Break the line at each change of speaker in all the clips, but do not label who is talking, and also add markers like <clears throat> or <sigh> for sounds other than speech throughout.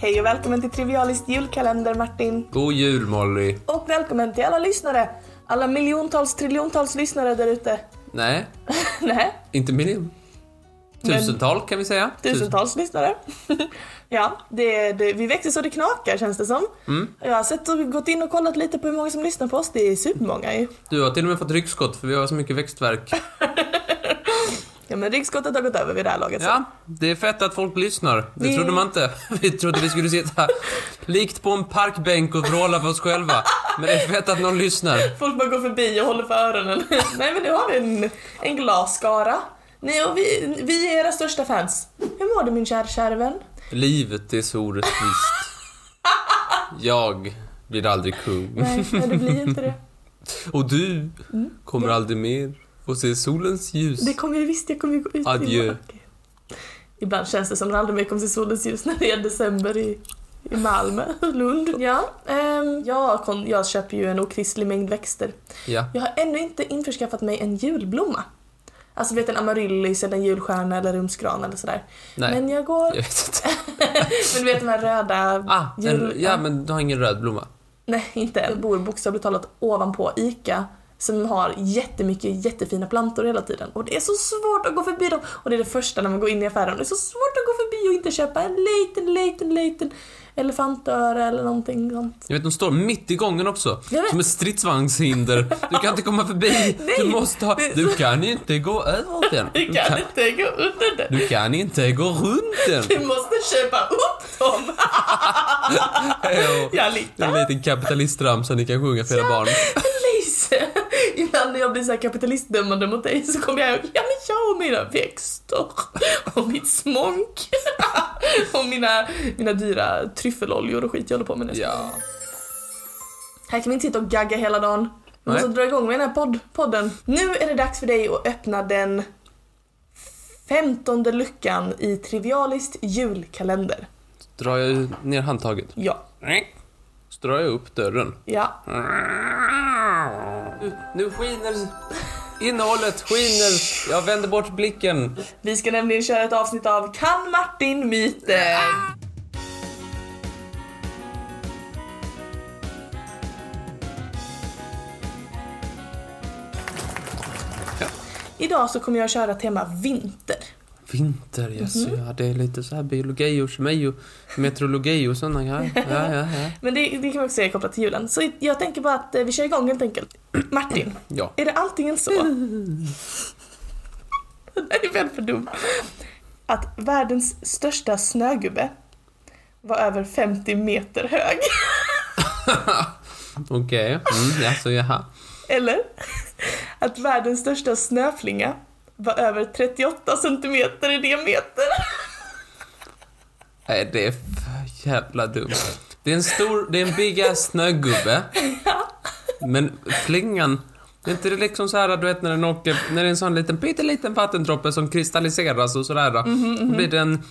Hej och välkommen till Trivialist julkalender Martin.
God jul Molly.
Och välkommen till alla lyssnare. Alla miljontals, triljontals lyssnare där ute. <laughs>
Nej,
Nej,
inte miljon. Tusental kan vi säga.
tusentals lyssnare. <laughs> ja, det, det, vi växer så det knakar känns det som. Jag har sett och gått in och kollat lite på hur många som lyssnar på oss. Det är supermånga ju.
Tusen- Du har till och med fått ryggskott för vi har så
<laughs>
mycket växtverk.
Ja, men ryggskottet har gått över vid det här laget.
Ja, det är fett att folk lyssnar. Det
Vi-
trodde man inte. <laughs> Vi trodde vi skulle sitta likt på en parkbänk och vråla för oss själva. Men det är fett att någon lyssnar.
Folk bara går förbi och håller för öronen. <laughs> Nej men nu har vi en, en glasskara. Ni och vi, vi är era största fans. Hur mår du min kära kära vän?
Livet är så orättvist. Jag blir aldrig kung.
Nej, nej, det blir inte det.
Och du kommer aldrig mer få se solens ljus.
Det kommer jag visst, jag kommer ju gå ut i
Adjö.
mörker. Ibland känns det som att det aldrig mer kommer se solens ljus när det är december i, i Malmö, Lund. Ja, ehm, jag, kon, jag köper ju en okristlig mängd växter.
Ja.
Jag har ännu inte införskaffat mig en julblomma. Alltså vet en amaryllis eller en julstjärna eller rumsgran eller sådär.
Nej.
Men jag går...
Jag vet inte.
Men du vet de här röda...
Ah, en,
jul-
ja men du har ingen röd blomma.
Nej, inte än. Jag bor bokstavligt talat ovanpå ICA som har jättemycket jättefina plantor hela tiden. Och det är så svårt att gå förbi dem. Och det är det första när man går in i affären. Det är så svårt att gå förbi och inte köpa en liten, liten, liten elefantöra eller någonting sånt.
Jag vet, de står mitt i gången också.
Jag vet.
Som ett stridsvagnshinder. Du kan inte
<laughs>
komma förbi. Du måste ha... Du kan inte gå över den.
Du kan inte gå under det.
du kan inte gå runt den.
Du måste köpa upp dem. Jag
Det är
litar.
en liten kapitalistramsa ni kan sjunga för era barn.
Lise, <laughs> ibland när jag blir så här kapitalistdömande mot dig så kommer jag ihåg, ja men jag och mina växter och mitt smonk <laughs> och mina, mina dyra tryffeloljor och skit jag håller på med nu.
Ja.
Här kan vi inte sitta och gagga hela dagen. Vi måste
Nej.
dra igång med den här podd, podden. Nu är det dags för dig att öppna den femtonde luckan i Trivialist julkalender.
Drar jag ner handtaget.
Ja,
Så drar jag upp dörren.
ja,
Nu, nu skiner... Innehållet skiner. Jag vänder bort blicken.
Vi ska nämligen köra ett avsnitt av Kan Martin myten? Idag så kommer jag köra tema vinter.
Vinter, jaså,
Mhm.
ja det är lite så här biologi och kemi och meteorologi och sådana grejer. Ja, ja, ja.
Men det, det kan man också säga kopplat till julen. Så jag tänker bara att eh, vi kör igång helt enkelt. <clears throat> Martin,
ja.
är det antingen så... <laughs> det här är väl för dumt. Att världens största snögubbe var över 50 meter hög. <laughs>
Okej, mm, jaså, jaha.
Eller att världens största snöflinga var över 38 centimeter i diameter. <laughs>
Nej, det är för jävla dumt. Det är en stor, det är en big ass snögubbe. Men flingan, är inte det liksom så här du vet när den åker, när det är en sån liten pytteliten vattendroppe som kristalliseras och sådär. Då blir det en,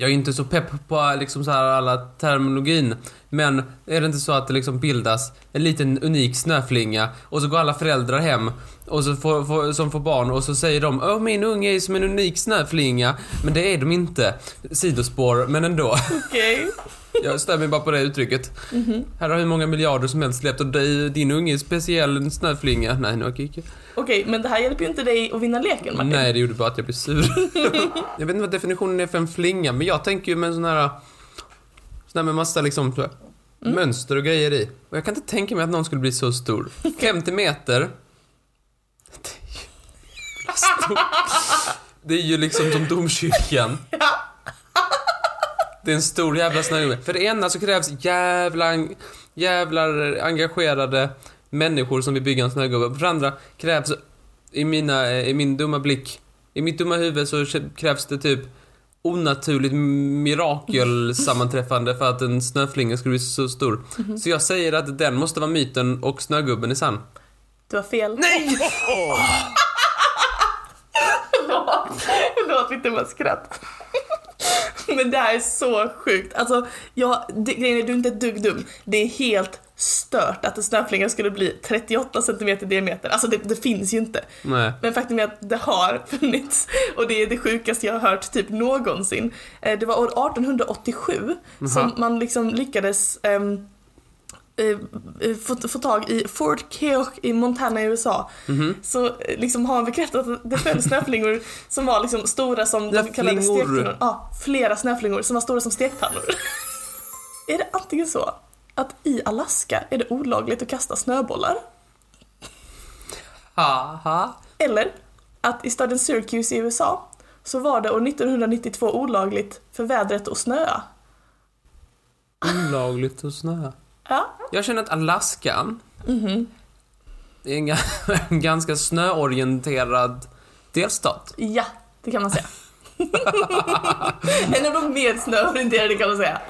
jag är inte så pepp på liksom så här alla terminologin. Men är det inte så att det liksom bildas en liten unik snöflinga och så går alla föräldrar hem och så får, får, som får barn och så säger de Åh min unge är som en unik snöflinga. Men det är de inte. Sidospår, men ändå. <laughs>
Okej.
Jag stämmer bara på det uttrycket. Här har hur många miljarder som helst släppt och dig- din unge är speciell en snöflinga. Nej, nu gick jag.
Okej, men det här hjälper ju inte dig att vinna leken Martin.
Nej, det gjorde bara att jag blev sur. jag vet inte vad definitionen är för en flinga, men jag tänker ju med en sån här... Sån här med massa liksom, så här, mönster och grejer i. Och jag kan inte tänka mig att någon skulle bli så stor. 50 meter. Det är ju... jävla stort. Det är ju liksom som domkyrkan. Det är en stor jävla snögubbe. För det ena så krävs jävla, jävlar engagerade människor som vill bygga en snögubbe. För det andra krävs, i, mina, eh, i min dumma blick, i mitt dumma huvud så krävs det typ onaturligt mirakelsammanträffande för att en snöflinga skulle bli så stor. Så jag säger att den måste vara myten och snögubben är sann.
Du har fel. Nej! <laughs> Förlåt, förlåt mitt dumma skratt. Men det här är så sjukt. Alltså, jag, det, grejen är, du är inte ett dugg dum. Det är helt stört att en snöflinga skulle bli 38 cm i diameter. Alltså det, det finns ju inte.
Nej.
Men faktum är att det har <laughs> funnits och det är det sjukaste jag har hört typ någonsin. Eh, Det var år 1887 som
Jaha.
man liksom lyckades ehm, eh, få, få tag i Fort Keogh i Montana i USA. Så eh, liksom har han bekräftat att det föll snöflingor som var liksom stora som
Ja,
de kallade
flingor.
stekpannor. Ja, flera snöflingor som var stora som stekpannor. är det antingen så att i Alaska är det olagligt att kasta snöbollar
Haha.
eller att i staden Syracuse i USA så var det år 1992 olagligt för vädret att snöa.
Olagligt att snöa.
Ja,
Jag känner att Alaskan
Mhm.
är en, ga- <laughs> en ganska snöorienterad delstat.
ja det kan man <laughs> säga. en av de mer snöorienterade kan man säga.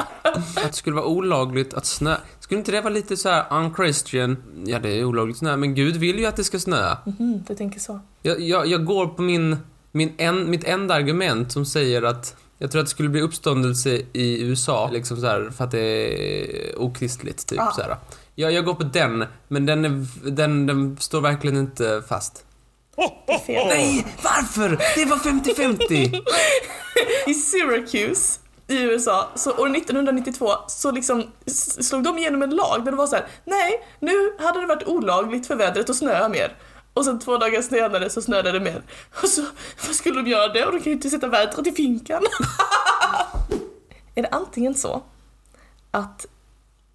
Att det skulle vara olagligt att snö... Skulle inte det vara lite så här unchristian? Ja, det är olagligt att snöa, men Gud vill ju att det ska snöa.
Mhm, du tänker så.
Jag, jag, jag går på min, min en, mitt enda argument som säger att jag tror att det skulle bli uppståndelse i USA, liksom så här, för att det är okristligt, typ
Ah.
så här. Jag, jag går på den, men den, är, den, den står verkligen inte fast.
Det är fel.
Nej, varför? Det var 50-50!
<laughs> I Syracuse i USA, så år 1992 så liksom s- slog de igenom en lag där det var så här: nej, nu hade det varit olagligt för vädret att snöa mer. Och sen två dagar senare så snöade det mer. <laughs> Och så, vad skulle de göra det? Och de kan ju inte sätta vädret i finkan. <laughs> Är det antingen så att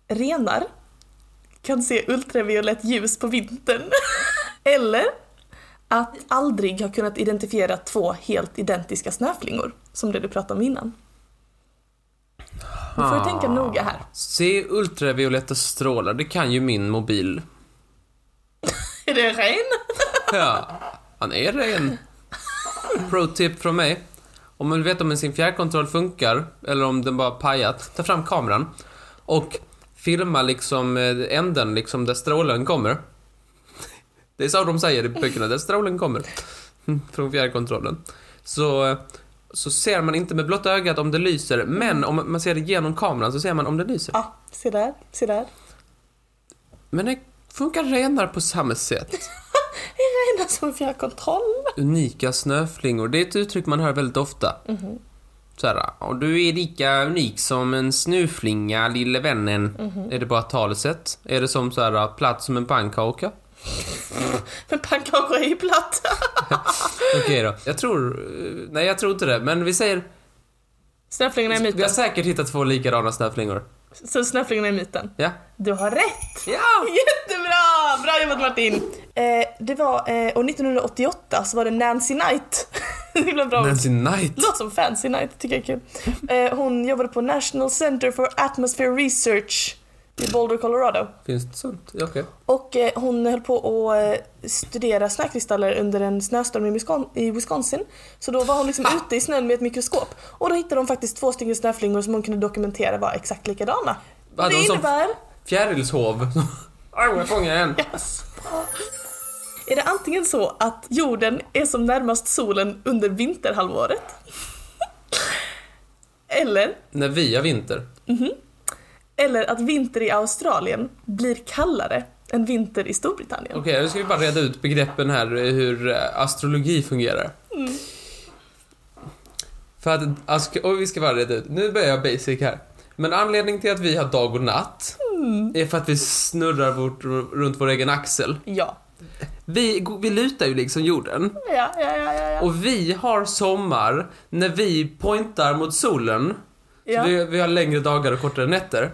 renar kan se ultraviolett ljus på vintern? <laughs> Eller att aldrig har kunnat identifiera två helt identiska snöflingor, som det du pratade om innan. Nu får du tänka noga här.
Ah. Se ultravioletta strålar, det kan ju min mobil.
Är det regn?
Ja, han är ren. Pro tip från mig. Om man vill veta om ens sin fjärrkontroll funkar eller om den bara pajat, ta fram kameran och filma liksom eh, änden liksom där strålen kommer. Det är så de säger i böckerna, där strålen kommer. Mm, Från fjärrkontrollen. Så, eh, så ser man inte med blotta ögat om det lyser, men om man ser det genom kameran så ser man om det lyser.
Ja, se där, se där.
Men det funkar renar på samma sätt.
Är regn alltså, som fjärrkontroll?
Unika snöflingor, det är ett uttryck man hör väldigt ofta. mm och du är lika unik som en snöflinga, lille vännen. Är det bara talesätt? Är det som så här, platt som en pannkaka?
Men pannkakor är ju platta.
Okej då. Jag tror... eh, Nej, jag tror inte det. Men vi säger...
Snöflingorna är
Vi har
myten.
säkert hittat två likadana snöflingor.
Så snöflingorna är myten.
Ja.
Du har rätt!
Ja!
Jättebra! Bra jobbat Martin! Eh, det var eh, år 1988 så var det Nancy Knight. <laughs> Himla bra
Nancy Knight.
Låter som Fancy Night, tycker jag är kul. Eh, hon jobbade på National Center for Atmosphere Research i Boulder, Colorado.
Finns det sånt? Ja, Okej.
Och eh, hon höll på att eh, studera snökristaller under en snöstorm i, Wiscon- i Wisconsin. Så då var hon liksom
Ah.
ute i snön med ett mikroskop. Och då hittade de faktiskt två stycken snöflingor som hon kunde dokumentera var exakt likadana.
Hade
det
hon som-
innebär...
Fjärilshov. <laughs> Aj, jag fångade en.
Yes. Är det antingen så att jorden är som närmast solen under vinterhalvåret? Eller
När vi har vinter.
Eller att vinter i Australien blir kallare än vinter i Storbritannien.
Okej, nu ska vi bara reda ut begreppen här, hur eh, astrologi fungerar. För att, alltså, och vi ska bara reda ut, nu börjar jag basic här. Men anledningen till att vi har dag och natt är för att vi snurrar vårt, runt vår egen axel.
Ja.
Vi, vi lutar ju liksom jorden.
Ja, ja, ja, ja. ja.
Och vi har sommar när vi pointar mot solen.
ja. Mhm.
Så vi, vi har längre dagar och kortare nätter.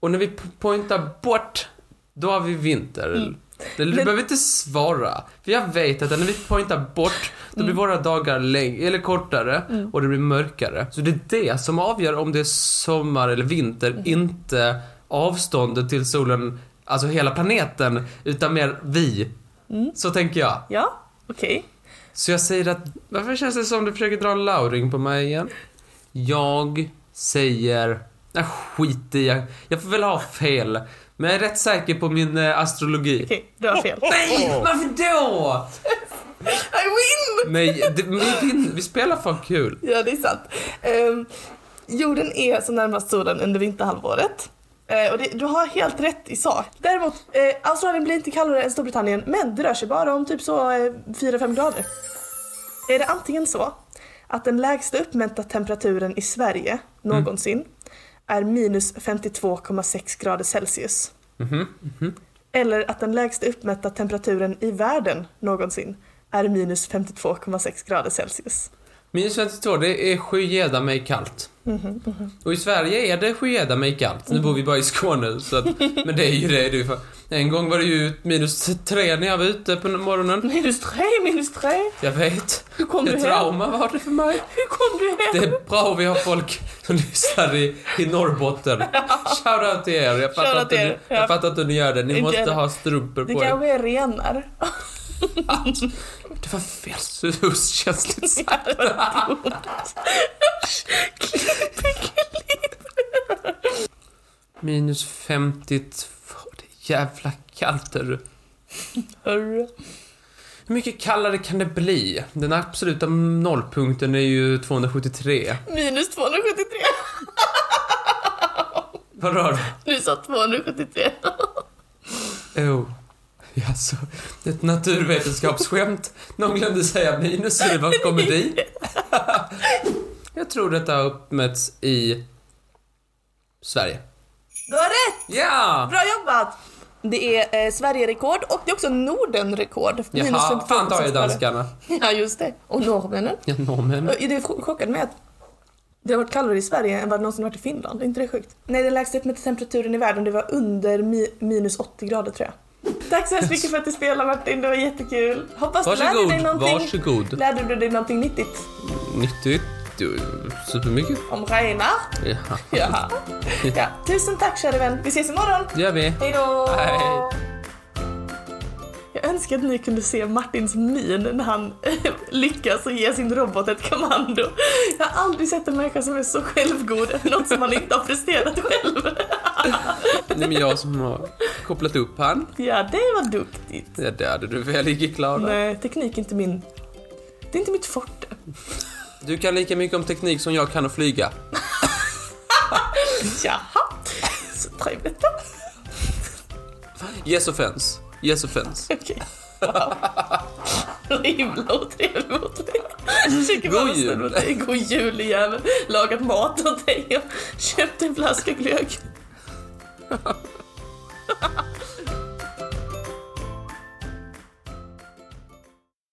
Och när vi po- pointar bort, då har vi vinter. Du
Mm. Men-
behöver inte svara. För jag vet att när vi pointar bort, då blir
Mm.
våra dagar längre, eller kortare och det blir mörkare. Så det är det som avgör om det är sommar eller vinter,
Mm.
inte avståndet till solen, alltså hela planeten, utan mer vi.
Mm.
Så tänker jag.
ja. Okej.
Så jag säger att, varför känns det som du försöker dra en lauring på mig igen? "Ah, Jag säger, nej skit i, jag, jag får väl ha fel. Men jag är rätt säker på min eh, astrologi.
Okej, du har fel.
Nej, varför då?
<laughs> I win!
Nej, det, vi, vin- vi spelar för kul.
<laughs> Ja, det är sant. Ehm, jorden är som närmast solen under vinterhalvåret. Eh, och det, du har helt rätt i sak. Däremot, eh, Australien blir inte kallare än Storbritannien, men det rör sig bara om typ så eh, 4-5 grader. Är det antingen så att den lägsta uppmätta temperaturen i Sverige någonsin är minus 52,6 grader Celsius. Eller att den lägsta uppmätta temperaturen i världen någonsin är minus 52,6 grader Celsius.
Minus 52, det är skugeda mig kallt.
Mm-hmm,
Och i Sverige är det skugeda mig kallt. Nu bor vi bara i Skåne, så att, men det är ju det. det är ju fan. En gång var det ju minus tre när jag var ute på morgonen.
Minus tre, minus tre.
Jag vet.
Hur kom du
Ett
hem?
trauma var det för mig.
Hur kom du hem?
Det är bra vi har folk som lyssnar i, i Norrbotten. Shoutout till er. Jag fattar,
Shoutout
att, ni,
till er, ja.
jag fattar att ni gör det. Ni
Inte
måste
jag.
ha strumpor
Det
på er.
kanske är renar.
Det var fel
<laughs>
suskänsligt sagt. Minus 52. Det är jävla kallt är du.
Hörru.
Hur mycket kallare kan det bli? Den absoluta nollpunkten är ju 273.
Minus 273.
Vad rör det?
Du sa 273.
Jo. Jaså, Oh. alltså, ett naturvetenskapsskämt. Någon glömde säga minus så det var
<laughs>
komedi. Jag tror detta har uppmätts i Sverige.
Du har rätt!
Ja!
Bra jobbat! Det är eh, Sverige-rekord och det är också Norden-rekord.
Jaha,
52
fan tar ju
var det.
danskarna.
Ja, just det. Och norrmännen.
Ja, norrmän.
Och Det chockade mig att det har varit kallare i Sverige än vad det någonsin varit i Finland. Är inte det sjukt? Nej, den lägsta uppmätta temperaturen i världen det var under mi- minus 80 grader tror jag. Tack så hemskt <laughs> mycket för att du spelade Martin, det var jättekul. Hoppas du lärde dig
Varsågod,
någonting.
varsågod.
Lärde du dig någonting nyttigt
Nyttigt. Du, Supermycket.
om Reinar?
Ja,
Ja. ja. Tusen tack kära vän. Vi ses imorgon.
det gör vi.
Hej då!
Hej.
Jag önskar att ni kunde se Martins min när han <laughs> lyckas och ge sin robot ett kommando. Jag har aldrig sett en människa som är så självgod över något som man inte har presterat själv.
Det är jag som har kopplat upp han.
Ja, det var duktigt.
Ja, där hade du väl icke Klara.
Nej, teknik är inte min... Det är inte mitt forte.
Du kan lika mycket om teknik som jag kan att flyga.
Jaha, så trevligt.
Yes offense. Yes offense.
Okej. Wow. Himla otrevlig mot dig. Jag tycker bara
God
synd
jul.
om dig. God jul jävel. Lagat mat åt dig och köpt en flaska glögg.